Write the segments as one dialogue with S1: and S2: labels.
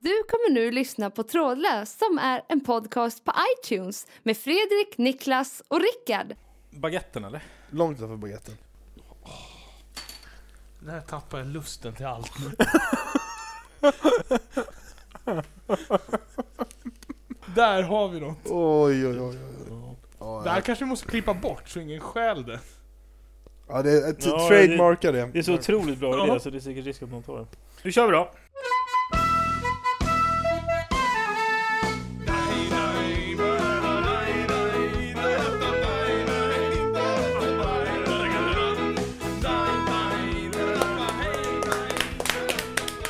S1: Du kommer nu lyssna på Trådlös som är en podcast på iTunes med Fredrik, Niklas och Rickard.
S2: Baguetten eller?
S3: Långt utanför baguetten.
S2: När tappar jag lusten till allt. Där har vi något.
S3: Oj, oj, oj. oj. Ja,
S2: Det här kanske vi måste klippa bort så ingen stjäl det.
S3: Ja, det är
S4: Ja,
S3: ja, trademarka det.
S4: Det är så otroligt bra
S2: Ja.
S4: idé så det är säkert risk att någon tar den. Nu kör vi då!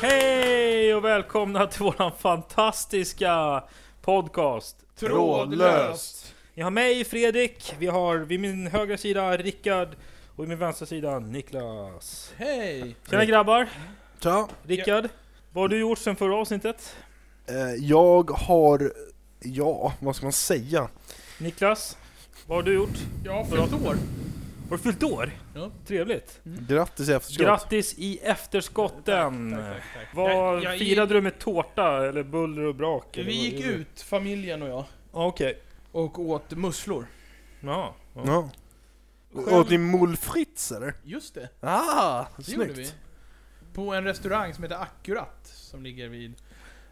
S4: Hej och välkomna till våran fantastiska podcast!
S3: Trådlöst.
S4: Ni har mig Fredrik, vi har vid min högra sida Rickard och vid min vänstra sida Niklas.
S2: Hej!
S4: Tjena grabbar!
S3: Tja.
S4: Rickard, vad har du gjort sen förra avsnittet?
S3: Eh, Jag har, ja, vad ska man säga?
S4: Niklas, vad har du gjort?
S2: Jag har fyllt år.
S4: Har du fyllt år?
S2: Ja. Mm.
S4: Trevligt!
S3: Grattis i efterskott.
S4: Grattis i efterskotten!
S2: Jag-
S4: Vad
S2: jag
S4: firade du med tårta eller buller och brak? eller
S2: Vi
S4: vad
S2: gick
S4: gjorde du?
S2: ut, familjen och jag,
S4: Ja, Okej.
S2: och åt musslor.
S4: Ja. ja.
S3: Ja. Åt ni mullfritz eller?
S2: Just det,
S3: Ah,
S2: det gjorde vi.
S3: snyggt.
S2: På en restaurang som heter Akkurat, som ligger vid...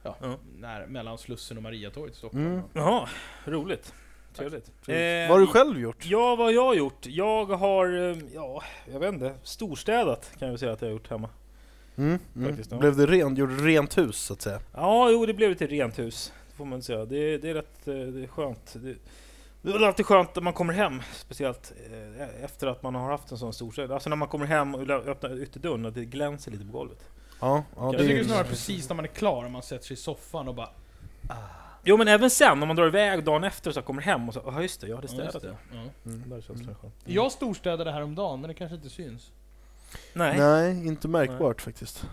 S2: Ja,
S4: Ja.
S2: Nära, mellan Slussen och Mariatorget i Stockholm.
S3: Mm.
S4: Jaha, roligt. Trevligt. Eh,
S3: Vad har du själv gjort?
S4: Ja, vad har jag gjort? Jag har, eh, ja, jag vet inte, storstädat kan jag väl säga att jag har gjort hemma.
S3: Mm, mm.
S4: Faktiskt, ja.
S3: Blev det rent, gjorde du rent hus så att säga?
S4: Ja, jo, det blev lite rent hus. Det får man säga. Det, det är rätt eh, det är skönt. Det, det är väl alltid skönt när man kommer hem, speciellt eh, efter att man har haft en sån storstädning. Alltså när man kommer hem och lä- öppnar ytterdörren, att det glänser lite på golvet.
S3: Ja, ja
S4: Jag
S2: Jag
S3: det
S2: tycker
S3: är...
S2: snarare precis när man är klar, om man sätter sig i soffan och bara...
S4: Jo, men även sen, om man drar iväg dagen efter och så kommer hem och så, ja just det, jag hade
S2: Ja, just
S4: städat.
S2: det. Ja.
S4: Mm, där känns det skönt.
S2: Jag storstädade häromdagen, men det kanske inte syns.
S4: Nej.
S3: Nej, inte märkbart faktiskt.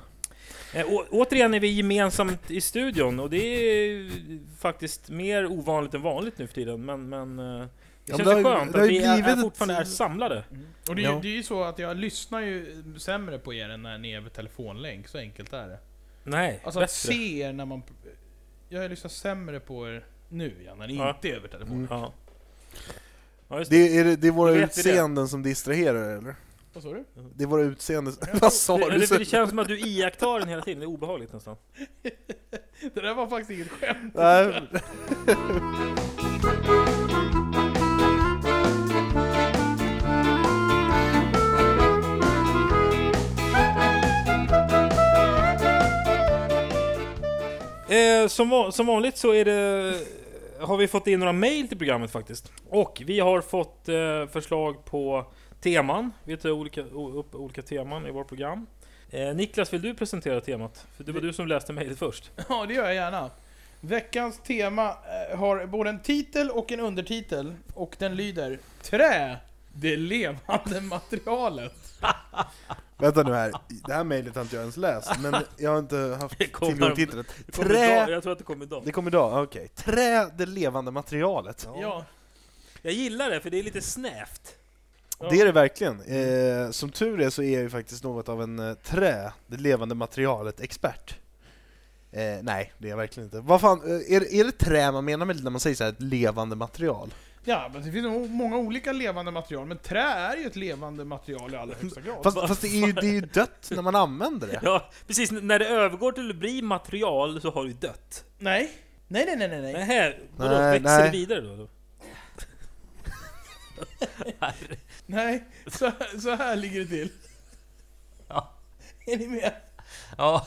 S4: Eh, å- återigen är vi gemensamt i studion och det är faktiskt mer ovanligt än vanligt nu för tiden, men, men eh, det
S3: men
S4: känns
S3: det har
S4: det
S3: ju-
S4: skönt
S3: det har
S4: att
S3: ju
S4: vi är, är
S3: blivit ett-
S4: fortfarande är samlade.
S2: Mm. Och det är, ju,
S3: Ja.
S2: det är ju så att jag lyssnar ju sämre på er än när ni är över telefonlänk, så enkelt är det.
S4: Nej,
S2: Alltså att
S4: bättre.
S2: se er när man... Jag lyssnar sämre på er nu ja, när ni
S4: Ja. Mm.
S2: inte är över telefon.
S4: Ja. Ja, just det.
S3: Det är, det, det är våra
S4: Då vet vi det.
S3: utseenden som distraherar er, eller?
S2: Vad sa du?
S3: Det är våra utseenden... Vad sa
S4: Det,
S3: du?
S4: eller, för det känns som att du iakttar den hela tiden, det är obehagligt nästan.
S2: Det där var faktiskt inget skämt.
S3: Nej,
S4: Eh, som, va- som vanligt så är det, eh, har vi fått in några mail till programmet faktiskt. Och vi har fått eh, förslag på teman. Vi tar olika, o- upp olika teman i vårt program. Eh, Niklas, vill du presentera temat? För det var du som läste mejlet först.
S2: Ja, det gör jag gärna. Veckans tema eh, har både en titel och en undertitel. Och den lyder Trä, det levande materialet.
S3: Vänta nu här, det här mejlet har inte jag ens läst, men jag har inte haft
S4: Det kommer-
S3: tillgång till internet.
S4: Det kom idag,
S3: Trä,
S4: jag tror att det kom idag.
S3: det kom idag, okej. Trä, det levande materialet.
S2: Ja.
S4: Jag gillar det, för det är lite snävt.
S3: Det är det verkligen. Eh, som tur är så är jag ju faktiskt något av en eh, trä, det levande materialet-expert. Eh, nej, det är jag verkligen inte. Vad fan, eh, är, är det trä man menar med när man säger så här, ett levande material?
S2: ja, men det finns nog många olika levande material, men trä är ju ett levande material i allra högsta grad.
S3: Fast, fast det, är ju, det är ju dött när man använder det.
S4: Ja, precis. N- När det övergår till att bli material så har du dött.
S2: Nej. Nej, nej, nej, nej, nej.
S4: Nähä, vadå?
S3: Nej,
S4: växer
S3: nej.
S4: det vidare då?
S2: Nej, så, så här ligger det till.
S4: Ja.
S2: Är ni med?
S4: Ja,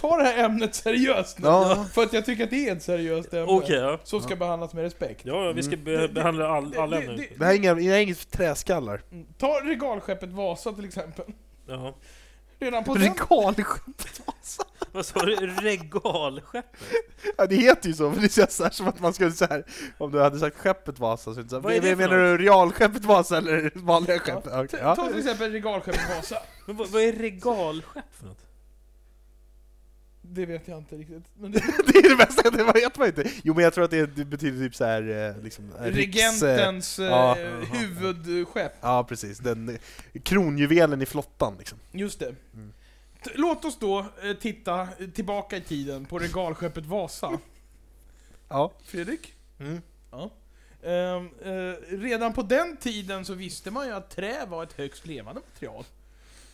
S2: Ta det här ämnet seriöst nu.
S3: Ja.
S2: För att jag tycker att det är ett seriöst ämne.
S4: okej. ja.
S2: Som ska behandlas med respekt.
S4: Ja, ja, vi ska be
S3: Mm.
S4: behandla all, alla
S2: Det-
S4: ämnen.
S2: det-
S3: Det här är inga, det här är inget för träskallar.
S2: Mm. Ta regalskeppet Vasa till exempel.
S4: Jaha.
S2: Redan på den...
S3: Regalskeppet Vasa!
S4: Vad sa du? Regalskepp?
S3: Ja, det heter ju så, men det känns så här som att man skulle så här, om du hade sagt skeppet Vasa, så inte så
S4: Vad är
S3: här,
S4: det för
S3: menar du realskeppet Vasa eller vanliga skeppet? Ja.
S2: Ta,
S3: okej,
S2: ta till exempel regalskeppet Vasa.
S4: Men vad, vad är regalskepp för något?
S2: Det vet jag inte riktigt. Men det...
S3: ja. Det är det bästa, det vet man inte. Jo men jag tror att det det betyder typ så här, eh, liksom, eh, riks, eh,
S2: Regentens eh,
S3: ja.
S2: huvudskepp.
S3: Ja precis, den eh, kronjuvelen i flottan liksom.
S2: Just det. T- Låt oss då eh, titta tillbaka i tiden på regalskeppet Vasa.
S3: Ja.
S2: Fredrik?
S4: Mm.
S2: Ja. Ehm, eh, redan på den tiden så visste man ju att trä var ett högst levande material.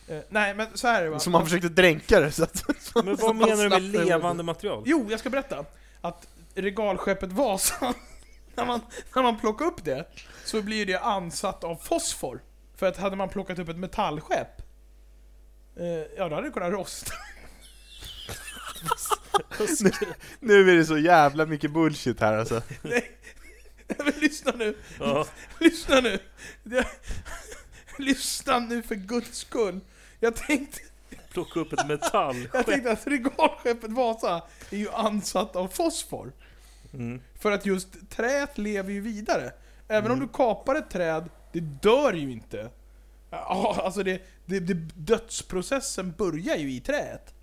S2: Eh, nej, men så här är det va.
S3: Som man försökte dränka det så att...
S4: Men
S3: så
S4: vad
S3: man
S4: menar du med
S3: slapp det.
S4: levande material?
S2: Jo, jag ska berätta. Att regalskeppet Vasa, när man, när man plockar upp det, så blir det ansatt av fosfor. För att hade man plockat upp ett metallskepp, eh, ja då hade det kunnat rosta.
S3: nu, nu är det så jävla mycket bullshit här alltså.
S2: Nej, men lyssna nu.
S4: Ja.
S2: Lyssna nu! Det- Lyssna nu för guds skull! Jag tänkte,
S4: Plocka upp ett metall.
S2: jag tänkte att regalskeppet Vasa är ju ansatt av fosfor.
S4: Mm.
S2: För att just träet lever ju vidare. Även om du kapar ett träd, det dör ju inte. Ja, Alltså det, det, det, dödsprocessen börjar ju i träet.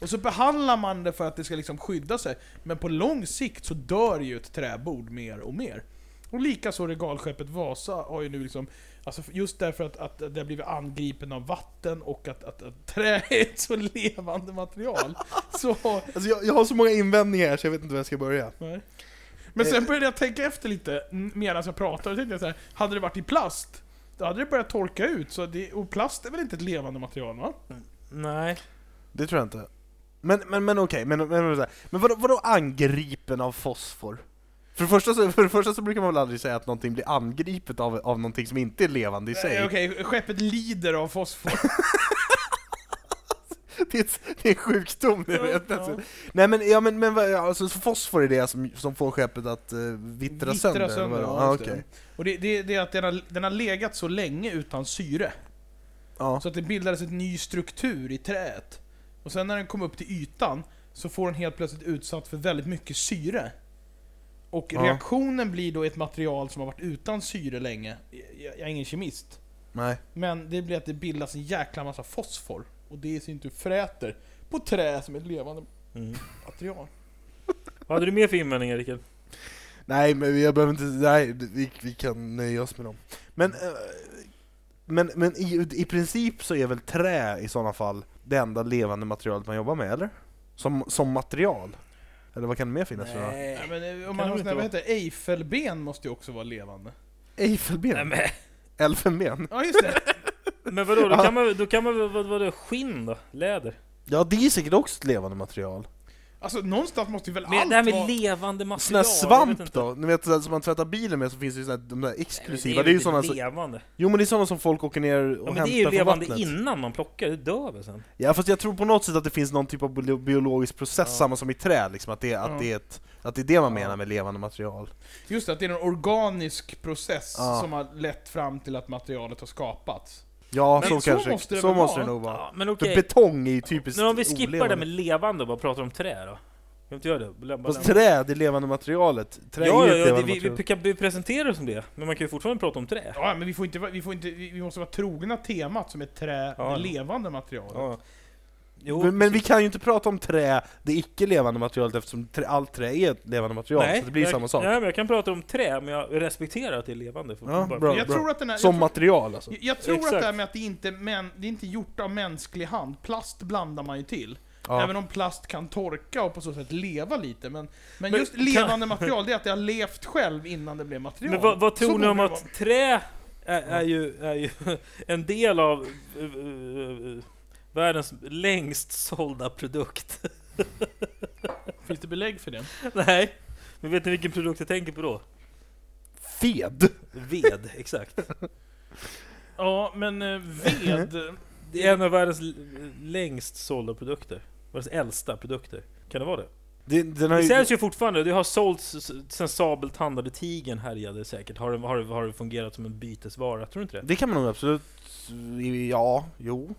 S2: Och så behandlar man det för att det ska liksom skydda sig. Men på lång sikt så dör ju ett träbord mer och mer. Och likaså regalskeppet Vasa har ju nu liksom, alltså just därför att, att det har blivit angripen av vatten och att, att, att trä är ett så levande material. Så har
S3: alltså jag, jag har så många invändningar här så jag vet inte vem jag ska börja.
S2: Nej. Men
S3: Eh.
S2: sen började jag tänka efter lite n- medan jag pratade, och tänkte jag så här, hade det varit i plast, då hade det börjat torka ut, så det, och plast är väl inte ett levande material va?
S4: Nej.
S3: Det tror jag inte. Men, men, men okej, men, men, men, så här. men vadå, vadå angripen av fosfor? För det, första så, för det första så brukar man väl aldrig säga att någonting blir angripet av, av någonting som inte är levande i sig.
S2: Nej, Eh, Okej, skeppet lider av fosfor.
S3: det, är, ett- det är en sjukdom, jag vet
S2: Ja,
S3: inte. Nej men, ja, men, men vad- alltså, så fosfor är det som, som får skeppet att eh, vittra, sönder? eller
S2: sönder,
S3: vadå?
S2: ja,
S3: ja,
S2: just det.
S3: okej.
S2: Och det, det, det är att den har, den har legat så länge utan syre,
S3: ja.
S2: så att det bildades en ny struktur i träet. Och sen när den kom upp till ytan, så får den helt plötsligt utsatt för väldigt mycket syre. Och
S3: Ja.
S2: reaktionen blir då ett material som har varit utan syre länge. Jag, jag är ingen kemist.
S3: Nej.
S2: Men det blir att det bildas en jäkla massa fosfor. Och det i sin tur fräter på trä som ett levande
S4: Mm.
S2: material.
S4: Vad hade du mer för invändningar Rickard?
S3: Nej, men jag behöver inte, nej, vi, vi kan nöja oss med dem. Men, eh, men, men i, i princip så är väl trä i sådana fall det enda levande materialet man jobbar med, eller? Som, som material? Eller vad kan det mer finnas för några?
S2: Ja, men eh, om
S4: det
S2: man har
S4: inte
S2: sådana, vad
S4: vara.
S2: heter det? Eiffelben måste ju också vara levande.
S4: Nej,
S3: Eiffelben?
S4: men,
S3: Elfenben?
S2: Ja just det!
S4: men vadå, då kan man, då kan man väl- vad, vad är det, skinn då? Läder?
S3: Ja, det är säkert också ett levande material.
S2: Alltså någonstans måste ju väl
S4: Men
S2: allt
S4: det här
S2: vara...
S4: med levande
S3: Sån här
S4: material? jag vet
S3: svamp
S4: inte.
S3: då? Ni vet sådär som man tvättar bilen med så finns det ju såna här, de där
S4: Nej,
S3: exklusiva,
S4: men
S3: det är ju
S4: inte
S3: sådana som,
S4: typ levande.
S3: Jo men det är sådana som folk åker ner och
S4: Ja, men det är ju
S3: hämtar från
S4: levande
S3: vattnet.
S4: innan man plockar, det dör väl sen?
S3: Ja fast jag tror på något sätt att det finns någon typ av bio- biologisk process,
S4: Ja.
S3: samma som i trä, liksom, att, det, att,
S2: Ja.
S3: det är ett, att det är det man
S2: Ja.
S3: menar med levande material.
S2: Just det, att det är en organisk process
S3: Ja.
S2: som har lett fram till att materialet har skapats.
S3: Ja,
S2: Men
S3: så,
S2: så
S3: kanske,
S2: måste det
S3: så
S2: väl
S3: måste det
S2: vara?
S3: nog vara.
S4: Ja, men
S3: För
S4: okej.
S3: betong är ju typiskt
S4: Men om vi skippar det
S3: olevande.
S4: här med levande och bara pratar om trä då? Kan vi inte göra det? Lämna-
S3: Fast
S4: lämna-
S3: trä, det är levande materialet. Trä
S4: ja,
S3: är ju
S4: ja,
S3: ett
S4: ja, det,
S3: levande
S4: vi, vi,
S3: material.
S4: kan- vi presenterar oss som det, men man kan ju fortfarande prata om trä.
S2: Ja, men vi får inte, vara- vi får inte, vi vi måste vara trogna temat som är trä,
S4: Ja.
S2: det levande materialet.
S4: Ja. Jo,
S3: men, men vi kan ju inte prata om trä, det icke levande materialet, eftersom trä, allt trä är ett levande material, så det blir
S4: jag,
S3: samma sak.
S4: Nej, men jag kan prata om trä, men jag respekterar att det är levande. För
S3: Ja,
S4: bara-
S3: bra.
S2: Jag tror att den här...
S3: som
S2: jag tror-
S3: material alltså.
S2: Jag, jag tror att
S4: Exakt.
S2: det här med att det inte är män, det är inte gjort av mänsklig hand, plast blandar man ju till.
S3: Ja.
S2: Även om plast kan torka och på så sätt leva lite, men, men,
S4: Men
S2: just
S4: kan-
S2: levande material, det är att det har levt själv innan det blev material.
S4: Men vad, vad
S2: Så
S4: tror ni
S2: borde
S4: om
S2: det
S4: att
S2: vara.
S4: trä är, är, ju, är ju en del av eh, eh, eh, världens längst sålda produkt?
S2: Finns det belägg för det?
S4: Nej, men vet ni vilken produkt jag tänker på då?
S3: Fed!
S4: Ved, exakt.
S2: Ja, men eh, ved...
S4: Det är en av världens l- längst sålda produkter. Världens äldsta produkter. Kan det vara det?
S3: Det, den har
S4: Det
S3: ju,
S4: säljs ju fortfarande, det har sålts s- sen sabeltandade tigern härjade säkert. Har det, har, det, har det fungerat som en bytesvara? Tror du inte det?
S3: Det kan man nog absolut, ja, jo.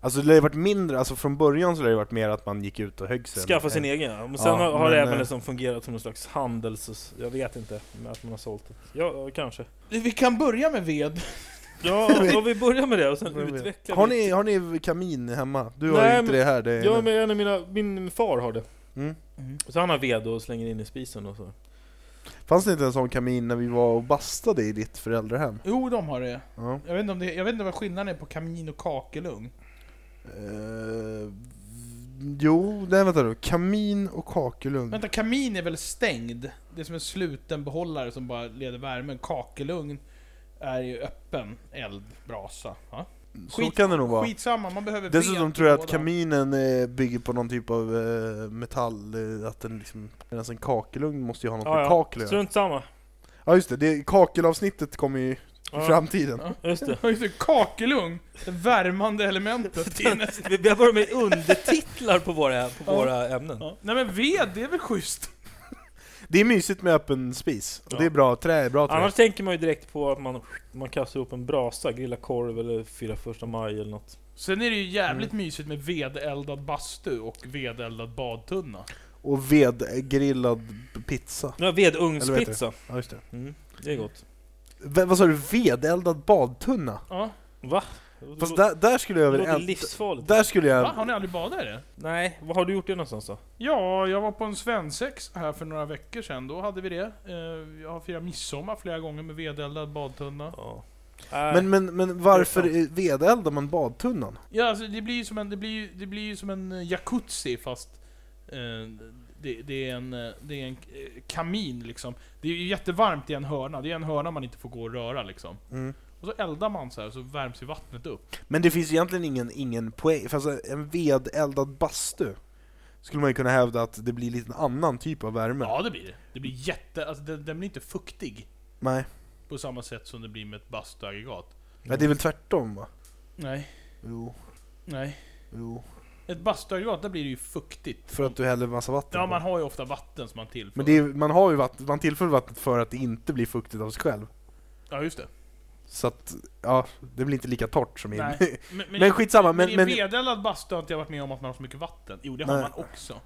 S3: Alltså det har ju varit mindre, alltså från början så har det varit mer att man gick ut och högg sig.
S4: Skaffa sin
S3: Än-
S4: egen ja. Men sen
S3: Ja,
S4: har, har det
S3: men,
S4: även
S3: eh,
S4: liksom fungerat som någon slags handels... Jag vet inte, med att man har sålt det. Ja, kanske.
S2: Vi kan börja med ved.
S4: Ja, och vi börjar med det och sen utvecklar
S3: Har
S4: vi.
S3: ni, har ni kamin hemma? Du har
S4: Nej,
S3: ju inte
S4: men-
S3: det här. Det är
S4: Ja, men en av mina, min far har det.
S3: mm.
S4: Så han har ved och slänger in i spisen och så.
S3: Fanns det inte en sån kamin när vi var och bastade i ditt föräldrahem?
S2: Jo, de har det.
S3: Ja.
S2: Jag vet inte, om det, jag vet inte vad skillnaden är på kamin och kakelugn.
S3: Eh, jo, nej vänta nu. Kamin och kakelugn.
S2: Vänta, kamin är väl stängd? Det är som en sluten behållare som bara leder värmen. Kakelugn är ju öppen eld, brasa. Va?
S3: Så
S2: skit-
S3: kan det nog vara.
S2: Skitsamma, man behöver
S3: Dessutom
S2: ved
S3: tror jag att
S2: båda.
S3: kaminen eh, bygger på någon typ av eh, metall, eh, att den liksom, medan en kakelugn måste ju ha något med
S4: Ja,
S3: kakel
S4: ja.
S3: att göra.
S4: Strunt samma.
S3: Ja just det, det kakelavsnittet kommer ju i
S4: Ja,
S3: framtiden.
S4: just det.
S2: Ja, just det, kakelugn! Det värmande elementet. Det är nästan-
S4: Vi vi har börjat med undertitlar på våra, på
S2: Ja.
S4: våra ämnen.
S2: ja. Nej men ved, det är väl schysst?
S3: Det är mysigt med öppen spis, och
S4: Ja.
S3: det är bra, trä är bra trä.
S4: Annars tänker man ju direkt på att man, man kastar ihop en brasa, grillar korv eller firar första maj eller något.
S2: Sen är det ju jävligt mysigt med vedeldad bastu och vedeldad badtunna.
S3: Och vedgrillad pizza.
S4: Nu har vedugnspizza.
S3: Ja just det.
S4: Mm, det är gott.
S3: V- vad sa du? Vedeldad badtunna?
S2: Ja.
S4: Va?
S3: Fast där, där skulle jag
S4: det
S3: väl...
S4: låter
S3: änt-
S4: livsfarligt.
S3: Där skulle jag...
S2: Va? Har ni aldrig badat i det?
S4: Nej, vad har du gjort det någonstans då?
S2: Ja, jag var på en svensexa här för några veckor sedan, då hade vi det. Eh, Jag har firat midsommar flera gånger med vedeldad badtunna.
S4: Ja. Äh.
S3: Men, men, men varför
S4: Det är
S3: eh, vedeldar man badtunnan?
S2: Ja, alltså det blir ju som en, det blir ju, det blir ju som en eh, jacuzzi fast eh, det, det är en, eh, det är en eh, kamin liksom. Det är ju jättevarmt i en hörna, det är en hörna man inte får gå och röra liksom.
S3: Mm.
S2: Och så eldar man så här så värms ju vattnet upp.
S3: Men det finns egentligen ingen, ingen poäng, för alltså, en vedeldad bastu skulle man ju kunna hävda att det blir lite en annan typ av värme.
S2: Ja, det blir det. Det blir jätte, alltså den, den blir inte fuktig
S3: Nej,
S2: på samma sätt som det blir med ett bastuaggregat.
S3: ja, det är väl tvärtom va?
S2: Nej,
S3: Jo,
S2: nej.
S3: jo.
S2: Ett bastuaggregat, där blir det ju fuktigt.
S3: För att du häller massa vatten
S2: Ja,
S3: på.
S2: man har ju ofta vatten som man tillför.
S3: Men det är, man, har ju vatten, man tillför vattnet för att det inte blir fuktigt av sig själv.
S2: Ja, just det.
S3: Så att, ja, det blir inte lika torrt som i...
S2: Nej. Men, men,
S3: Men skitsamma,
S2: men
S3: men,
S2: i
S3: men,
S2: en vedeldad bastu har inte jag varit med om att man har så mycket vatten. Jo, det har
S3: Nej.
S2: man också.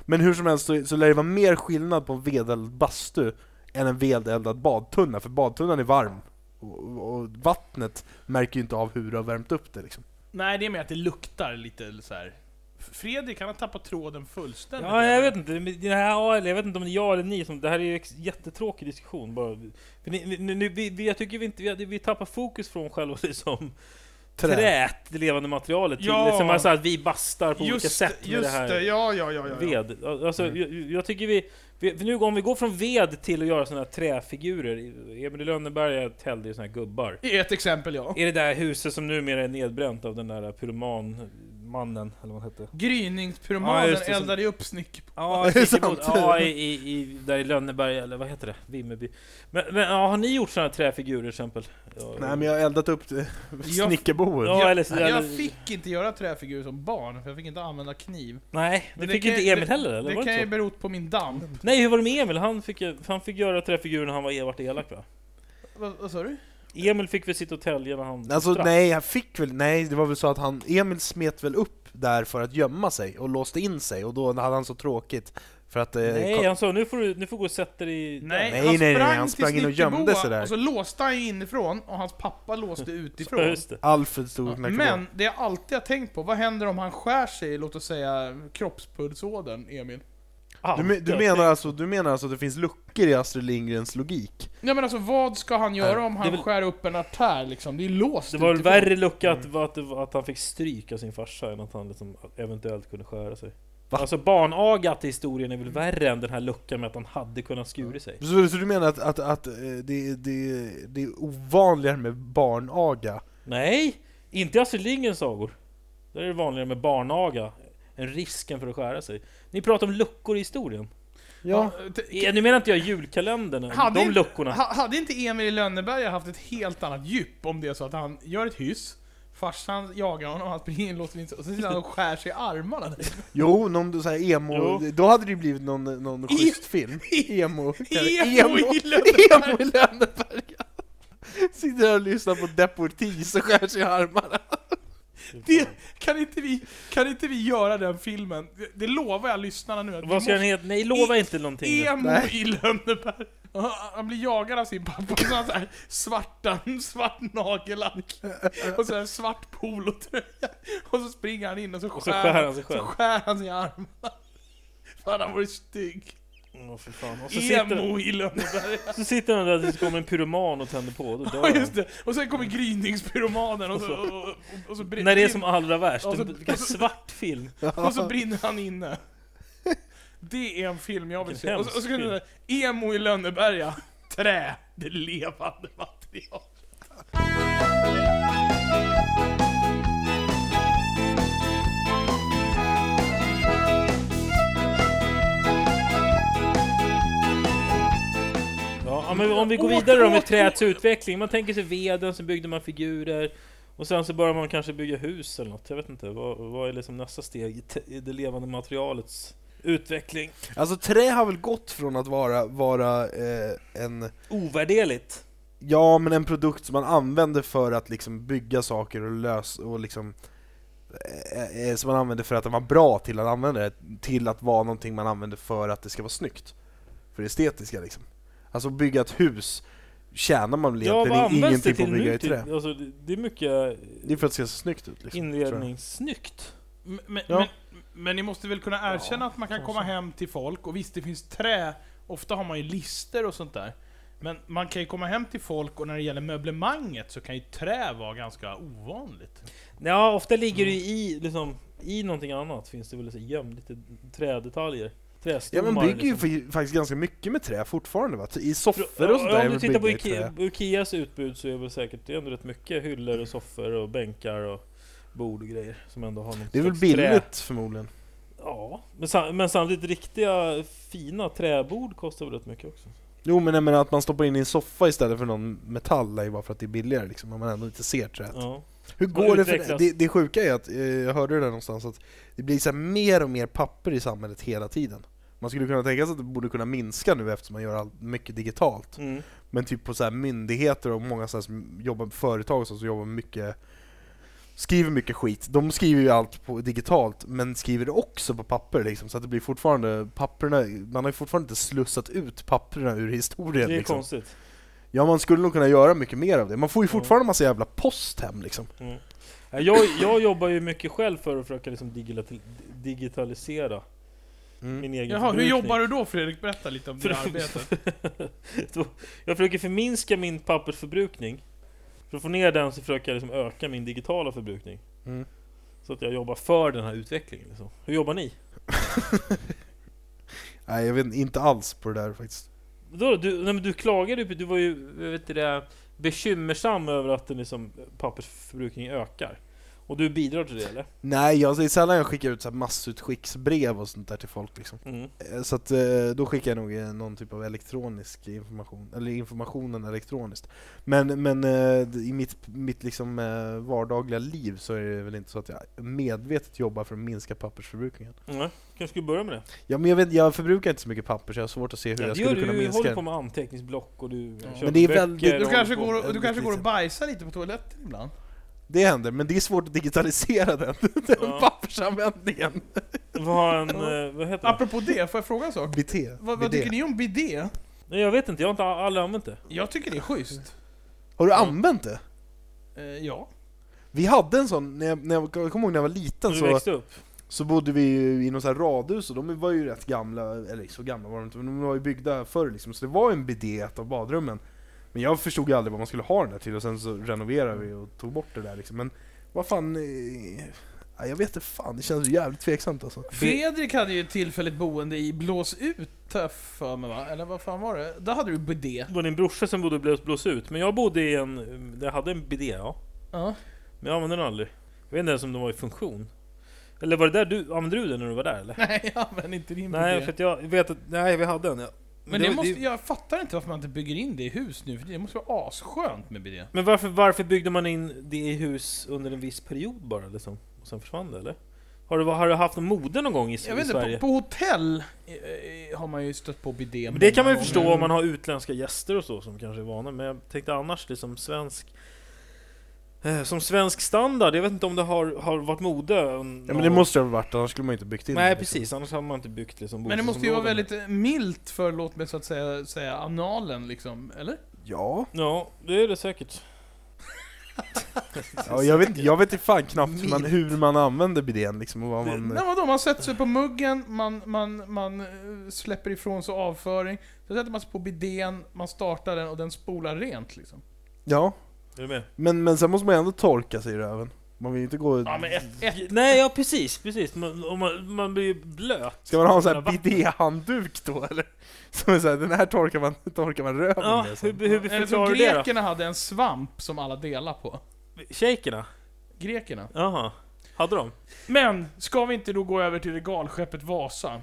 S3: men hur som helst så, så lär det vara mer skillnad på en vedeldad bastu än en vedeldad badtunna, för badtunnan är varm. Och, och- och vattnet märker ju inte av hur du har värmt upp det liksom.
S2: Nej, det är mer att det luktar lite så här. Fredrik, han har tappat tråden fullständigt.
S4: Ja, jag vet inte. Men Det här, ja, eller jag vet inte om det är jag eller ni som... Det här är ju en jättetråkig diskussion bara. För ni, ni, ni, vi, vi, jag tycker vi inte... Vi, vi tappar fokus från själva liksom,
S3: Trä.
S4: trät, det levande materialet, till
S2: Ja.
S4: liksom, alltså, att vi bastar på olika
S2: Just,
S4: sätt med
S2: just
S4: det här.
S2: ja, ja, ja. ja, ja.
S4: Ved. Alltså, jag, jag tycker vi... vi för nu, om vi går från ved till att göra såna här träfigurer. Emil i Lönneberga tällde ju såna här gubbar.
S2: Det är ett exempel, ja.
S4: Är det där huset som numera är nedbränt av den där pyromanmannen, eller vad han hette? Ja,
S2: Gryningspyromanen
S4: just det, som-
S2: eldade ju upp snick...
S4: Ja,
S3: Det är
S4: precis emot,
S3: sant.
S4: ja i, i, i, där i Lönneberga, eller vad heter det? Vimmerby. Men, men ja, har ni gjort sådana träfigurer till exempel? Ja,
S3: Nej men jag har eldat upp eh, snickerboet.
S4: Ja, eller så-
S2: jag,
S4: eller-
S2: jag fick inte göra träfigurer som barn, för jag fick inte använda kniv.
S4: nej, det,
S2: Men
S4: fick
S2: kan
S4: ju inte
S2: ju-
S4: Emil heller, eller?
S2: Det
S4: var det
S2: kan ju
S4: inte så? Mm.
S2: bero på min damp.
S4: Nej, hur var det med Emil? Han fick, ju- han fick göra träfigurer när han var vart elak va?
S2: Vad, vad sa du?
S4: Emil fick väl sitta och tälja när han
S3: Alltså
S4: drack.
S3: nej, jag fick väl, nej det var väl så att han, Emil smet väl upp där för att gömma sig och låste in sig och då hade han så tråkigt för att... eh,
S4: Nej,
S3: kom-
S4: han sa nu får du, nu får du gå och sätta dig i...
S2: Nej,
S3: Nej,
S2: han
S3: nej, nej,
S2: sprang,
S3: han sprang
S2: till
S3: in och gömde sig
S2: Snickerboa,
S3: där.
S2: Och så låste han ju inifrån, och hans pappa låste
S4: Ja,
S2: utifrån.
S4: just det.
S3: Alfred stod
S2: Ja,
S3: och knackade på.
S2: Men det jag alltid har tänkt på, vad händer om han skär sig i, låt oss säga, kroppspulsådern, Emil?
S3: Du, me- du, menar alltså, du menar alltså att det finns luckor i Astrid Lindgrens logik?
S2: Nej men alltså vad ska han göra om
S4: Äh, det är
S2: han
S4: väl-
S2: skär upp en artär liksom? Det är låst
S4: Det var väl
S2: utifrån.
S4: värre lucka att, att, att han fick stryk av sin farsa än att han liksom eventuellt kunde skära sig.
S3: Va?
S4: Alltså barnagat i historien är väl värre än den här luckan med att han hade kunnat skura sig.
S3: Så, så du menar att, att, att eh, det, det, det är ovanligare med barnaga?
S4: Nej! Inte i Astrid Lindgrens sagor. Där är det vanligare med barnaga. än risken för att skära sig. Ni pratar om luckor i historien.
S3: Ja.
S2: t-
S4: Eh, Nu menar inte jag julkalendern,
S2: Hade
S4: de
S2: inte-
S4: luckorna.
S2: ha, hade inte Emil i Lönneberga haft ett helt annat djup om det är så att han gör ett hyss, farsan jagar honom, han springer in, låser in sig, och sen sitter han och skär sig i armarna.
S3: Jo, någon så här emo...
S4: Jo.
S3: Då hade det ju blivit någon, någon schysst film. Emo.
S2: Emo i Lönneberga.
S3: Emo i Lönneberga! Sitter här och lyssnar på Deportees och skär sig i armarna.
S2: Det, kan, inte vi, kan inte vi göra den filmen? Det, det lovar jag lyssnarna nu att vi
S4: Vad ska den heta? Nej, lova
S2: I-
S4: inte någonting. nu.
S2: Emo
S3: Nej.
S2: i Lönneberg. Ja, Han blir jagad av sin pappa med sån här svarta, svart nagellack och så här svart polotröja. Och så springer han in och så skär,
S4: Och så skär han sig
S2: så
S4: själv.
S2: skär han sig i armarna. Fan, han var ju stygg.
S4: Mm. Åh fy fan.
S2: E-
S4: Och så sitter,
S2: Emo i Lönneberga.
S4: så sitter den där tills det kommer en pyroman och tänder på, då dör
S2: Ja,
S4: han.
S2: just det. Och sen kommer gryningspyromanen och så... Och, och, och, så brin-
S4: När det är som allra värst,
S2: Och så-
S4: en vilken svart film.
S2: och så brinner han inne. Det är en film jag vill
S4: Vilken
S2: se. Och så, och så kunde det
S4: hemsk
S2: Emo i Lönneberga. Trä. Det levande material.
S4: Ja, ja, men om vi går
S2: Åh,
S4: vidare då
S2: åh,
S4: med träets utveckling. Man tänker sig veden, så byggde man figurer. Och sen så börjar man kanske bygga hus eller något. Jag vet inte, vad, vad är liksom nästa steg i, te- i det levande materialets utveckling?
S3: Alltså trä har väl gått från att vara, vara eh, en,
S4: Ovärderligt!
S3: ja men en produkt som man använder för att liksom bygga saker och lös och liksom eh, eh, som man använder för att den var bra till att använda det, till att vara någonting man använder för att det ska vara snyggt. För det estetiska liksom. Alltså bygga ett hus tjänar man väl
S4: Ja,
S3: egentligen
S4: vad används det
S3: ingenting på
S4: till
S3: att bygga
S4: nu?
S3: i
S4: Till,
S3: trä.
S4: alltså, det det är mycket
S3: Det är för att det ska se snyggt ut liksom, tror jag.
S4: inredningssnyggt.
S2: Men, men,
S3: Ja.
S2: men, men ni måste väl kunna erkänna att man kan
S4: så-
S2: komma
S4: så.
S2: hem till folk, och visst det finns trä, ofta har man ju lister och sånt där. Men man kan ju komma hem till folk och när det gäller möblemanget så kan ju trä vara ganska ovanligt.
S4: Ja, ofta ligger det ju i, liksom, i någonting annat, finns det väl så gömd lite trädetaljer.
S3: Ja
S4: Trästommar.
S3: man bygger ju
S4: liksom.
S3: fa- faktiskt ganska mycket med trä fortfarande va? I soffor och sånt
S4: Ja,
S3: där är
S4: Om du
S3: väl
S4: tittar på
S3: byggda i trä.
S4: Ikea, Ikeas utbud så är väl säkert det är ändå rätt mycket hyllor och soffor och bänkar och bord och grejer som ändå har något
S3: Det är väl
S4: slags trä.
S3: billigt förmodligen.
S4: Ja, men, sam- men samtidigt riktiga fina träbord kostar väl rätt mycket också.
S3: Jo men jag menar att man stoppar in i en soffa istället för någon metall är ju bara för att det är billigare liksom, om man ändå inte ser träet.
S4: Ja.
S3: Hur
S4: Och
S3: går det för
S4: utvecklas.
S3: det, det sjuka är att, eh, jag hörde det där någonstans, att det blir så här mer och mer papper i samhället hela tiden. Man skulle kunna tänka sig att det borde kunna minska nu eftersom man gör allt mycket digitalt.
S4: Mm.
S3: Men typ på så här myndigheter och många så här som jobbar med företag och så, som jobbar med mycket skriver mycket skit. De skriver ju allt på digitalt men skriver det också på papper liksom, så att det blir fortfarande papperna, man har ju fortfarande inte slussat ut papperna ur
S4: Det
S3: historien
S4: är
S3: liksom.
S4: konstigt.
S3: Ja man skulle nog kunna göra mycket mer av det. Man får ju fortfarande massa jävla post hem liksom.
S4: Mm. Ja, Jag, jag jobbar ju mycket själv för att försöka liksom digilati- digitalisera
S3: Mm.
S4: min egen
S2: Jaha, hur
S4: förbrukning.
S2: jobbar du då Fredrik? Berätta lite om
S4: För-
S2: det arbetet.
S4: Då- jag försöker förminska min pappersförbrukning. För att få ner den så försöker jag liksom öka min digitala förbrukning.
S3: Mm.
S4: Så att jag jobbar för den här utvecklingen. Liksom. Hur jobbar ni?
S3: Nej jag vet inte- inte alls på det där faktiskt.
S4: Då, du, nej, men du klagade ju, på- du var ju jag vet inte det, bekymmersam över att den liksom, pappersförbrukningen ökar. Och du bidrar till det eller?
S3: Nej, jag, det är sällan jag skickar ut så här massutskicksbrev och sånt där till folk liksom.
S4: Mm.
S3: Eh, Så att, eh, då skickar jag nog eh, någon typ av elektronisk information, eller informationen elektroniskt. Men, men eh, d- i mitt, mitt liksom eh, vardagliga liv så är det väl inte så att jag medvetet jobbar för att minska pappersförbrukningen.
S4: Nej, kanske skulle börja med det.
S3: Ja, men jag, vet, jag förbrukar inte så mycket papper så jag har svårt att se hur
S4: Ja,
S3: jag
S4: det gör
S3: skulle
S4: du,
S3: kunna
S4: du
S3: minska
S4: håller på
S3: den.
S4: med anteckningsblock och du köper
S3: Men det är
S4: böcker
S3: väldigt-
S4: och
S2: Du kanske,
S4: håller på-
S2: går, och- du
S3: väldigt
S2: kanske går och
S3: lite.
S2: bajsar lite på toaletten ibland?
S3: Det händer, men det är svårt att digitalisera den, den
S4: Ja.
S3: pappersanvändningen.
S4: Vad en, eh, vad heter det?
S2: Apropå det, får jag fråga en sak?
S3: BT.
S2: Vad, vad
S3: BT.
S2: tycker ni om bidé?
S4: Nej, jag vet inte, jag har inte a- aldrig använt det.
S2: Jag tycker det är schysst.
S3: Har du använt det?
S2: Eh, ja.
S3: Vi hade en sån, när jag, när jag, jag kommer ihåg när jag var liten
S4: Du
S3: så...
S4: växte upp?
S3: så bodde vi ju i något så här radhus och de var ju rätt gamla, eller så gamla var de inte, men de var ju byggda förr liksom, så det var ju en bidé i ett av badrummen. Men jag förstod ju aldrig vad man skulle ha den där till och sen så renoverade vi och tog bort det där liksom. Men vad fan, eh, ja, jag vet inte fan, det känns ju jävligt tveksamt alltså.
S2: Fredrik hade ju tillfälligt boende i Blås ut, har jag för mig va? Eller vad fan var det? Där hade du bidé.
S4: Det var din brorsa som bodde och blås, blås ut, men jag bodde i en... Jag hade en bidé, ja.
S2: Ja.
S4: Men jag använde den aldrig. Jag vet inte ens om den var i funktion. Eller var det där du... Använde du den när du var där eller?
S2: Nej, jag använder inte din
S4: Nej,
S2: bidé.
S4: för att jag vet att... Nej, vi hade en. Ja.
S2: Men det
S4: var-
S2: måste, jag fattar inte varför man inte bygger in det i hus nu, för det måste vara asskönt med bidé.
S4: Men varför, varför byggde man in det i hus under en viss period bara liksom? Och sen försvann det eller? Har du, har du haft någon mode någon gång i,
S2: Jag
S4: i
S2: vet inte,
S4: Sverige?
S2: på, på hotell eh, eh, har man ju stött på bidé
S4: Men det kan man ju
S2: många
S4: förstå
S2: gånger.
S4: om man har utländska gäster och så som kanske är vana, men jag tänkte annars liksom svensk... eh, Som svensk standard, jag vet inte om det har, har varit mode...
S3: Ja, men det måste det ha varit, annars skulle man ju liksom. inte byggt in
S4: Nej
S3: det,
S4: precis, annars hade man inte byggt liksom
S2: Men det måste ju vara
S4: bostadsområden.
S2: väldigt eh, milt för, låt mig så att säga, säga analen liksom, eller?
S3: Liksom. Ja,
S4: Ja, det är det säkert
S3: Ja, jag, vet, jag vet inte fan knappt hur man, hur man använder bidén liksom, och vad man...
S2: Nej, vadå? Man sätter sig på muggen, man, man, man eh, släpper ifrån sig avföring, sen sätter man sig på bidén, man startar den och den spolar rent liksom.
S3: Ja,
S4: Är du med?
S3: men, men sen måste man ju ändå torka sig i röven. Man vill ju inte gå...
S2: Ja men ett, ett.
S4: Nej, ja precis, precis. Man, och man, man blir ju blöt.
S3: Ska man ha en sån här
S4: Vatten.
S3: bidéhandduk då eller? Som är såhär, den här torkar man, torkar man röven
S4: Ja,
S3: med sen.
S4: hur, hur
S2: Eller
S4: förklarar
S2: som
S4: du det
S2: grekerna hade en svamp som alla delar på.
S4: då? Shakerna?
S2: Grekerna.
S4: Jaha. Hade de?
S2: Men, ska vi inte då gå över till regalskeppet Vasa?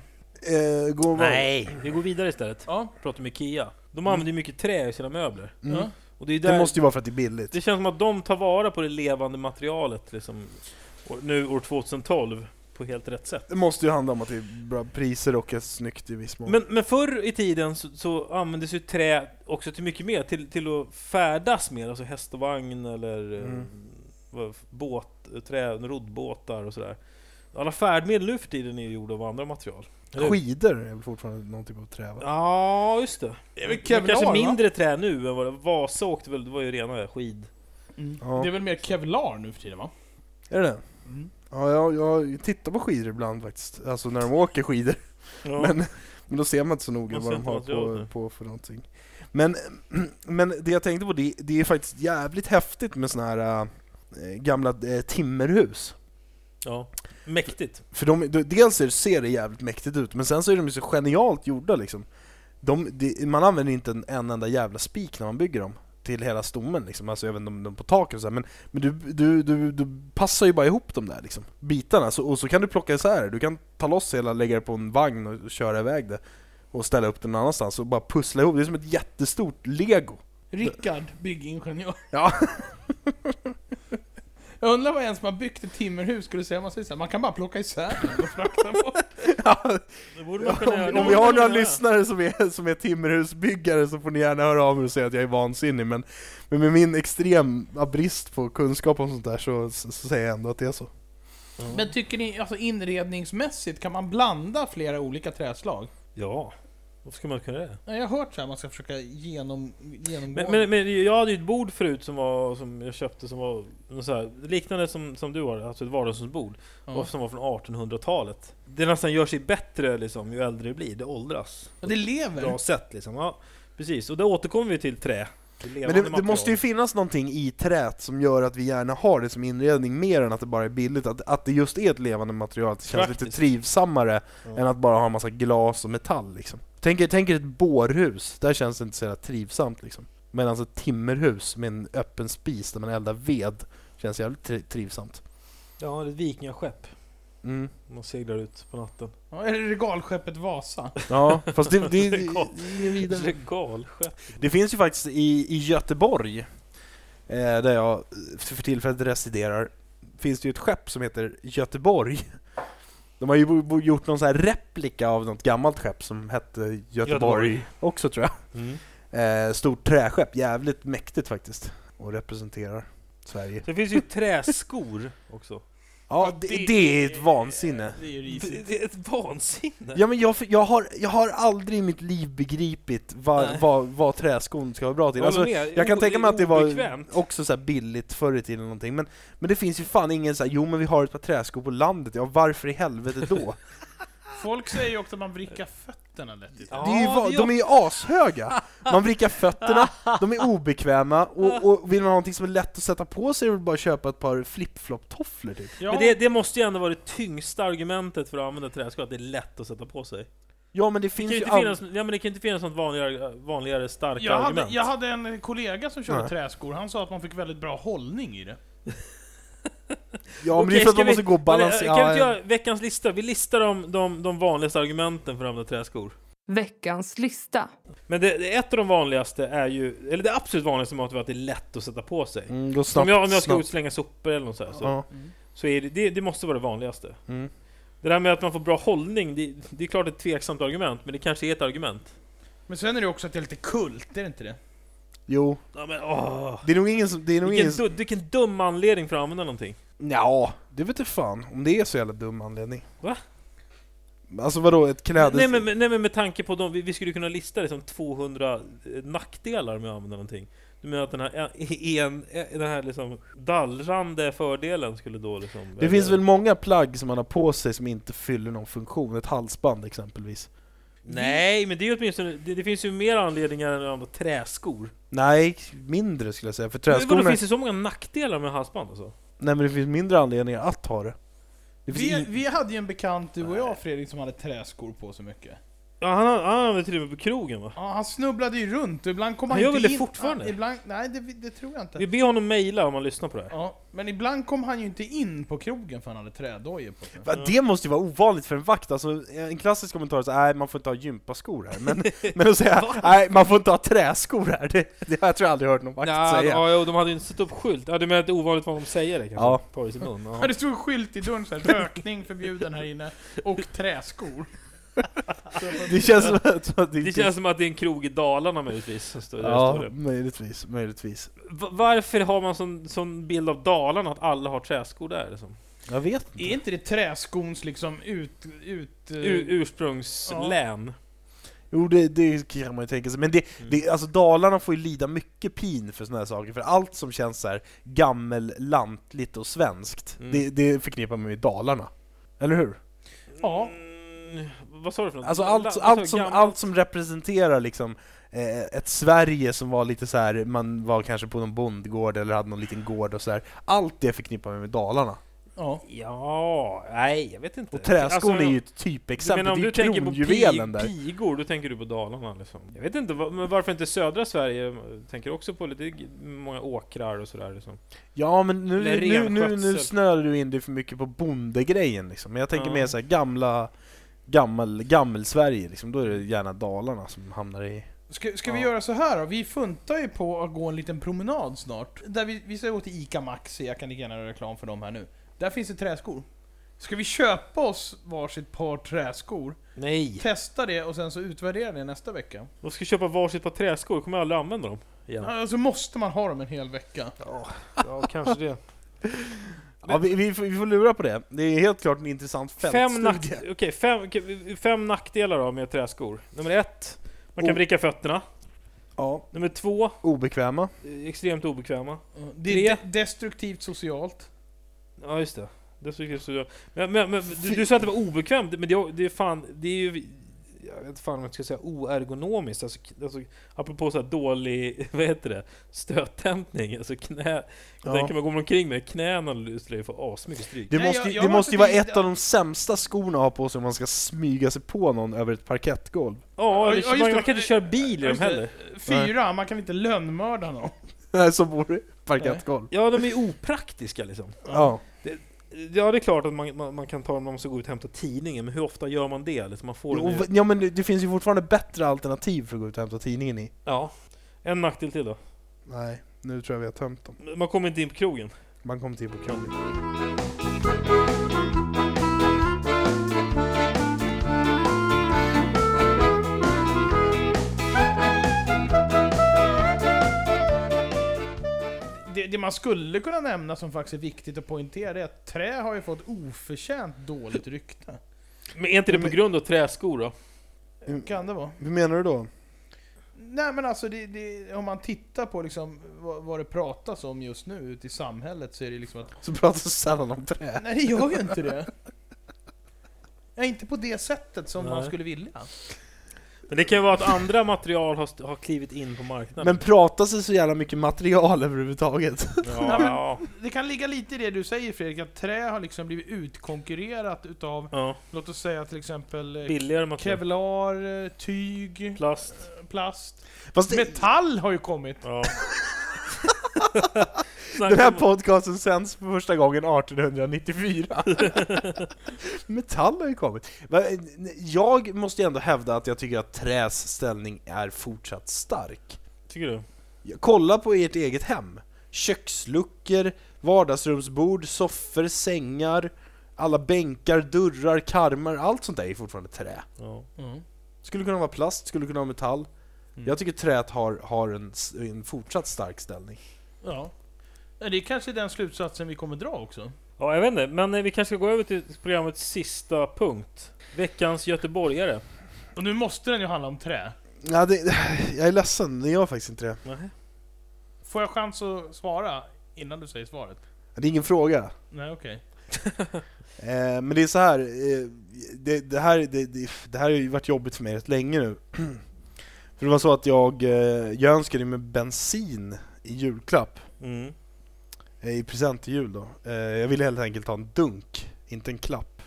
S3: Eh, gå och-
S4: Nej, vi går vidare istället.
S2: Ja.
S4: Pratar med Ikea. De använder ju mycket trä i sina möbler.
S3: Mm.
S2: ja.
S4: Och det, är
S3: Det
S4: där,
S3: måste ju vara för att det är billigt.
S4: det känns som att de tar vara på det levande materialet liksom, och nu år 2012 på helt rätt sätt.
S3: Det måste ju handla om att det är bra priser och är snyggt i viss mån.
S4: Men, men förr i tiden så, så användes ju trä också till mycket mer, till, till att färdas med, alltså häst och vagn eller eh,
S3: Mm.
S4: vad- båt, trä, roddbåtar och sådär. Alla färdmedel nu för tiden är ju gjorda av andra material. Eller-
S3: Skidor är väl fortfarande någon typ av trä va?
S4: Ja, just det.
S2: Det är väl
S4: Men
S2: kevlar
S4: kanske
S2: va?
S4: mindre trä nu än vad det Vasa åkte väl, det var ju rena skid...
S3: Ja.
S2: Det är väl mer kevlar nu för tiden va?
S3: Är det det?
S4: Mm.
S3: Ja, jag, jag tittar på skidor ibland faktiskt. Alltså när de åker skidor.
S4: Ja.
S3: Men, men då ser man inte så noga
S4: Man
S3: vad
S4: ser
S3: de
S4: inte
S3: har
S4: vad jag
S3: på,
S4: gör.
S3: på för någonting. Men, men det jag tänkte på, det, det är faktiskt jävligt häftigt med såna här äh, gamla äh, timmerhus.
S4: ja. Mäktigt.
S3: För de, de, dels är, ser det jävligt mäktigt ut, men sen så är de ju så genialt gjorda liksom. De, det- man använder inte en, en enda jävla spik när man bygger dem till hela stommen liksom, alltså även de, de på taket och så här. men, men du, du, du, du passar ju bara ihop de där liksom, bitarna, så, och så kan du plocka isär det, du kan ta loss hela, lägga det på en vagn och, och köra iväg det och ställa upp den någon annanstans och bara pussla ihop, det är som ett jättestort lego.
S2: Rickard, byggingenjör.
S3: Ja.
S2: Jag undrar vad en som har byggt ett timmerhus skulle säga om man säger såhär, man kan bara plocka isär den och frakta på.
S4: Det borde man kunna göra.
S3: om,
S4: Det
S3: om
S4: borde
S3: vi har
S4: man
S3: några
S4: kunna göra.
S3: lyssnare som är, som är timmerhusbyggare så får ni gärna höra av er och säga att jag är vansinnig men, men med min extrema brist på kunskap om sånt där så, så, så säger jag ändå att det är så.
S2: Men tycker ni, alltså inredningsmässigt, kan man blanda flera olika träslag?
S4: Ja, varför ska man kunna det?
S2: Ja, Jag har hört såhär, man ska försöka genom, genomgå...
S4: Men, men, men jag hade ju ett bord förut som, var, som jag köpte som var någon så här, liknande som, som du har, alltså ett vardagsrumsbord.
S2: Ja.
S4: Och som var från 1800-talet. Det nästan gör sig bättre liksom, ju äldre det blir, det åldras.
S2: Ja, det lever!
S4: Bra sätt liksom. Ja, precis, och då återkommer vi till trä. till
S3: Men
S4: levande
S3: det, det måste ju
S4: material.
S3: finnas någonting i trät som gör att vi gärna har det som inredning mer än att det bara är billigt, att, att det just är ett levande material, att det känns lite
S4: Praktiskt.
S3: trivsammare
S4: Ja.
S3: än att bara ha en massa glas och metall liksom. Tänk, er- tänk er ett bårhus, där känns det inte så jävla trivsamt liksom. Medan ett timmerhus med en öppen spis där man eldar ved känns jävligt tri- trivsamt.
S4: Ja, det är ett vikingaskepp.
S3: Mm.
S4: Man seglar ut på natten.
S2: Ja, eller regalskeppet Vasa.
S3: Ja, fast det, det,
S4: Det är gott.
S3: det är vidare.
S4: Regalskepp.
S3: Det finns ju faktiskt i, i Göteborg, eh, där jag för tillfället residerar, finns det ju ett skepp som heter Göteborg. De har ju bo- bo- gjort någon sån här replika av något gammalt skepp som hette Göteborg,
S4: Göteborg.
S3: också tror
S4: Mm.
S3: jag. Eh, stort träskepp, jävligt mäktigt faktiskt. Och representerar Sverige.
S4: Sen finns ju träskor också.
S3: Ja, det, det är ett vansinne.
S2: Det är ju risigt.
S4: Det, det är ett vansinne!
S3: Ja, men jag, jag, har, jag har aldrig i mitt liv begripit vad,
S4: Nej.
S3: vad, vad träskon ska vara bra till.
S4: Jag
S3: Alltså,
S4: håller med.
S3: jag kan
S4: O-
S3: tänka mig att det var
S4: obekvämt.
S3: också så här billigt förr i tiden eller någonting, men, men det finns ju fan ingen så här, jo men vi har ett par träskor på landet, ja varför i helvete då?
S2: Folk säger ju också att man vrickar fötterna lätt i trä.
S3: det är ju,
S4: Ja,
S3: va-
S4: det är
S3: de är ju ashöga! Man vrickar fötterna, de är obekväma, och, och vill man ha någonting som är lätt att sätta på sig är det väl bara att köpa ett par flip-flop-tofflor typ.
S2: Ja,
S4: Men det, det måste ju ändå vara det tyngsta argumentet för att använda träskor, att det är lätt att sätta på sig.
S3: Ja men det
S4: Det
S3: finns
S4: kan ju
S3: ju...
S4: inte
S3: an-
S4: finnas, ja, men det kan ju inte finnas något vanligare, vanligare starka
S2: jag, hade,
S4: argument.
S2: jag hade en kollega som körde
S3: Nej.
S2: träskor, han sa att man fick väldigt bra hållning i det.
S3: Ja men det är
S4: Okej,
S3: för att
S4: ska
S3: man måste
S4: vi-
S3: gå och
S4: men, eh, Kan vi
S3: balansera...
S4: inte göra veckans lista? Vi listar de, de, de vanligaste argumenten för att använda träskor.
S1: Veckans lista.
S4: Men det, det, ett av de vanligaste är ju, eller det absolut vanligaste måste vara att det är lätt att sätta på sig.
S3: Mm, gå
S4: om,
S3: snabbt,
S4: jag, om jag ska
S3: snabbt.
S4: ut slänga sopor eller något så här, så,
S3: Ja.
S4: så är det, det, det måste vara det vanligaste.
S3: Mm.
S4: Det där med att man får bra hållning, det, det är klart ett tveksamt argument, men det kanske är ett argument.
S2: Men sen är det också att det är lite kult, är det inte det?
S3: Jo,
S4: Ja, men, åh.
S3: det är nog ingen som... Det är nog ingen
S4: Vilken,
S3: som...
S4: du, vilken dum anledning för att använda någonting.
S3: Ja, det vet du fan om det är så jävla dum anledning.
S4: Va?
S3: Alltså vadå, ett klädes...
S4: Nej men, men- nej men med tanke på dem, vi, vi skulle kunna lista liksom 200 eh, nackdelar med att använda någonting. Du menar att den här, en, en, den här liksom dallrande fördelen skulle då liksom...
S3: Det finns väl många plagg som man har på sig som inte fyller någon funktion, ett halsband exempelvis.
S4: Nej, men det är ju åtminstone... Det, det finns ju mer anledningar än andra träskor.
S3: Nej, mindre skulle jag säga, för
S4: Men vadå,
S3: träskorna...
S4: finns det så många nackdelar med halsband alltså?
S3: Nej men det finns mindre anledningar att ha det. det finns
S2: Vi,
S3: in...
S2: vi hade ju en bekant, du och jag Fredrik, som hade träskor på sig mycket.
S4: Ja, han, han använder till och med på krogen va?
S2: Ja, han snubblade ju runt och ibland kom
S4: Han
S2: han,
S4: gör
S2: inte
S4: väl det
S2: in.
S4: fortfarande?
S2: Ja, ibland, nej, det, det tror jag inte.
S4: Vi ber honom mejla om han lyssnar på det här.
S2: Ja, men ibland kom han ju inte in på krogen för han hade trädojor på sig.
S3: Va, det måste ju vara ovanligt för en vakt, alltså en klassisk kommentar är så, nej man får inte ha gympaskor här, men, men att säga nej man får inte ha träskor här, det, det har jag tror jag aldrig hört någon vakt
S4: Ja,
S3: säga.
S4: ja, jo, de hade ju inte satt upp skylt. Ja, du menar att det är ovanligt vad de säger det kanske?
S3: Ja.
S4: Tar i sin mun.
S2: Ja,
S4: Ja.
S2: det stod en skylt i dörren såhär, rökning förbjuden här inne, och träskor.
S3: Det känns som att, som att det,
S4: Det
S3: inte-
S4: känns som att det är en krog i Dalarna möjligtvis. som står- där står
S3: Ja,
S4: det.
S3: möjligtvis, möjligtvis.
S4: Va- Varför har man sån, sån bild av Dalarna att alla har träskor där? Liksom?
S3: Jag vet
S2: Är inte det träskons liksom ut... ut eh,
S4: Ur, ursprungslän.
S3: Jo det, det kan man ju tänka sig, men det,
S4: Mm.
S3: det, alltså Dalarna får ju lida mycket pin för såna här saker, för allt som känns så här gammellantligt och svenskt,
S4: Mm.
S3: det, det förknippar man ju med Dalarna. Eller hur?
S2: Ja.
S4: Mm, vad sa du för något?
S3: Alltså
S4: La-
S3: allt,
S4: vad sa du,
S3: allt, som,
S4: gammalt?
S3: allt som representerar liksom eh, ett Sverige som var lite så här, man var kanske på någon bondgård eller hade någon liten gård och så här. Allt det förknippar man med Dalarna.
S2: Ja.
S4: Ja, nej jag vet inte.
S3: Och träskon
S4: Alltså,
S3: är ju ett
S4: Du
S3: typexempel,
S4: menar
S3: det
S4: om
S3: är
S4: du
S3: ju
S4: tänker på
S3: kronjuvelen
S4: pi-
S3: där.
S4: pigor, då tänker du på Dalarna liksom. Jag vet inte, va- men varför inte södra Sverige? Jag Tänker också på lite g- många åkrar och sådär liksom.
S3: Ja men nu,
S4: Eller
S3: nu, nu, nu
S4: renskötsel.
S3: snör du in dig för mycket på bondegrejen liksom. Men jag tänker
S4: Ja.
S3: mer så här gamla, gammel, gammel Sverige liksom. Då är det gärna Dalarna som hamnar i...
S2: Ska, ska vi
S4: Ja.
S2: göra så här då? Vi funtar ju på att gå en liten promenad snart. Där vi, vi ska gå till ICA Maxi, jag kan lika gärna göra reklam för dem här nu. Där finns det träskor. Ska vi köpa oss varsitt par träskor,
S4: Nej!
S2: testa det och sen så utvärdera det nästa vecka?
S4: De ska köpa varsitt par träskor, kommer jag aldrig använda dem.
S2: Ja.
S4: Igen.
S2: Alltså måste man ha dem en hel vecka.
S4: Ja, kanske det.
S3: Ja, vi, vi, får, vi får lura på det. Det är helt klart en intressant
S4: Fem,
S3: fältstudie.
S4: nack okej, fem, okej, fem nackdelar då med träskor. Nummer ett, man kan
S3: Oh.
S4: vricka fötterna.
S3: Ja,
S4: Nummer två,
S3: obekväma.
S4: eh, extremt obekväma.
S2: Det är de- destruktivt socialt.
S4: Ja, just det. Destruktivt socialt. Men, men, men du, du sa att det var obekvämt, men det, det är fan, det är ju... Jag vet inte fan om jag ska säga oergonomiskt, alltså, k- alltså apropå så här dålig, vad heter det, stöthämtning, alltså knä...
S3: Ja.
S4: Jag tänker man går omkring med knäna och skulle ju få asmycket stryk.
S3: Det
S2: Nej,
S3: måste,
S2: jag-
S3: ju
S2: jag
S3: det
S2: har
S3: måste ju
S2: inte
S3: vara
S2: vid-
S3: ett av de sämsta skorna att ha på sig om man ska smyga sig på någon över ett parkettgolv.
S4: Ja,
S2: Ja, just
S4: eller, man,
S2: det.
S4: man kan inte köra bil
S2: Ja,
S4: i dem
S2: just det.
S4: heller.
S2: Alltså, eh, Fyra, man kan inte lönnmörda någon.
S3: Nej, så vore det. Parkettgolv.
S4: Ja, de är ju opraktiska liksom.
S3: Ja.
S4: Ja, det är klart att man, man, man kan ta dem när man ska gå ut och hämta tidningen, men hur ofta gör man det? Liksom, man får
S3: Jo,
S4: dem ju-
S3: och- ja men det, det finns ju fortfarande bättre alternativ för att gå ut och hämta tidningen i.
S4: Ja. En nackdel till då.
S3: Nej, nu tror jag vi har tömt dem.
S4: Man kommer inte in på krogen.
S3: Man kommer till på krogen.
S2: Det, det man skulle kunna nämna som faktiskt är viktigt att poängtera är att trä har ju fått oförtjänt dåligt rykte.
S4: Men är inte det på grund av träskor då?
S2: Kan det vara?
S3: Hur menar du då?
S2: Nej men alltså, det, det, om man tittar på liksom vad, vad det pratas om just nu ute i samhället så är det liksom att...
S3: Så pratar sällan om trä.
S2: Nej det gör ju inte det! Ja, inte på det sättet som man
S4: Nej.
S2: skulle vilja.
S4: Men det kan ju vara att andra material har, st- har klivit in på marknaden.
S3: Men pratar sig så jävla mycket material överhuvudtaget.
S4: ja, ja,
S2: Det kan ligga lite i det du säger Fredrik, att trä har liksom blivit utkonkurrerat utav,
S4: ja.
S2: låt oss säga till exempel eh,
S4: Billigare material.
S2: kevlar, eh, tyg,
S4: Plast.
S2: plast.
S3: Fast det,
S2: Metall har ju kommit!
S4: Ja.
S3: den här podcasten sänds för första gången 1894. Metall har ju kommit. Va, Jag måste ju ändå hävda att jag tycker att träs ställning är fortsatt stark.
S4: Tycker du?
S3: Ja, Kolla på ert eget hem. Köksluckor, vardagsrumsbord, soffor, sängar, alla bänkar, dörrar, karmar, allt sånt där är fortfarande trä.
S4: Ja.
S2: Mm.
S3: Skulle kunna vara plast, skulle kunna vara metall.
S4: Mm.
S3: Jag tycker träet har, har en, s- en fortsatt stark ställning.
S2: Ja. Ja, Det är kanske den slutsatsen vi kommer dra också.
S4: ja, jag vet inte. Men eh, vi kanske ska gå över till programmets sista punkt. Veckans göteborgare.
S2: Och nu måste den ju handla om trä.
S3: Ja, det, jag är ledsen, det gör faktiskt inte det.
S4: Nej.
S2: Får jag chans att svara innan du säger svaret?
S3: Det är ingen fråga.
S2: Nej, okej.
S3: Eh, men det är så här, eh, det, det, här det, det, det här har ju varit jobbigt för mig rätt länge nu. För det var så att jag, eh, jag önskade mig bensin i julklapp,
S4: Mm.
S3: eh, i present till jul då. Eh, jag ville helt enkelt ha en dunk, inte en klapp.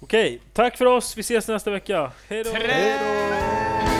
S4: Okej, tack för oss. Vi ses nästa vecka. Hej då!
S2: Trä-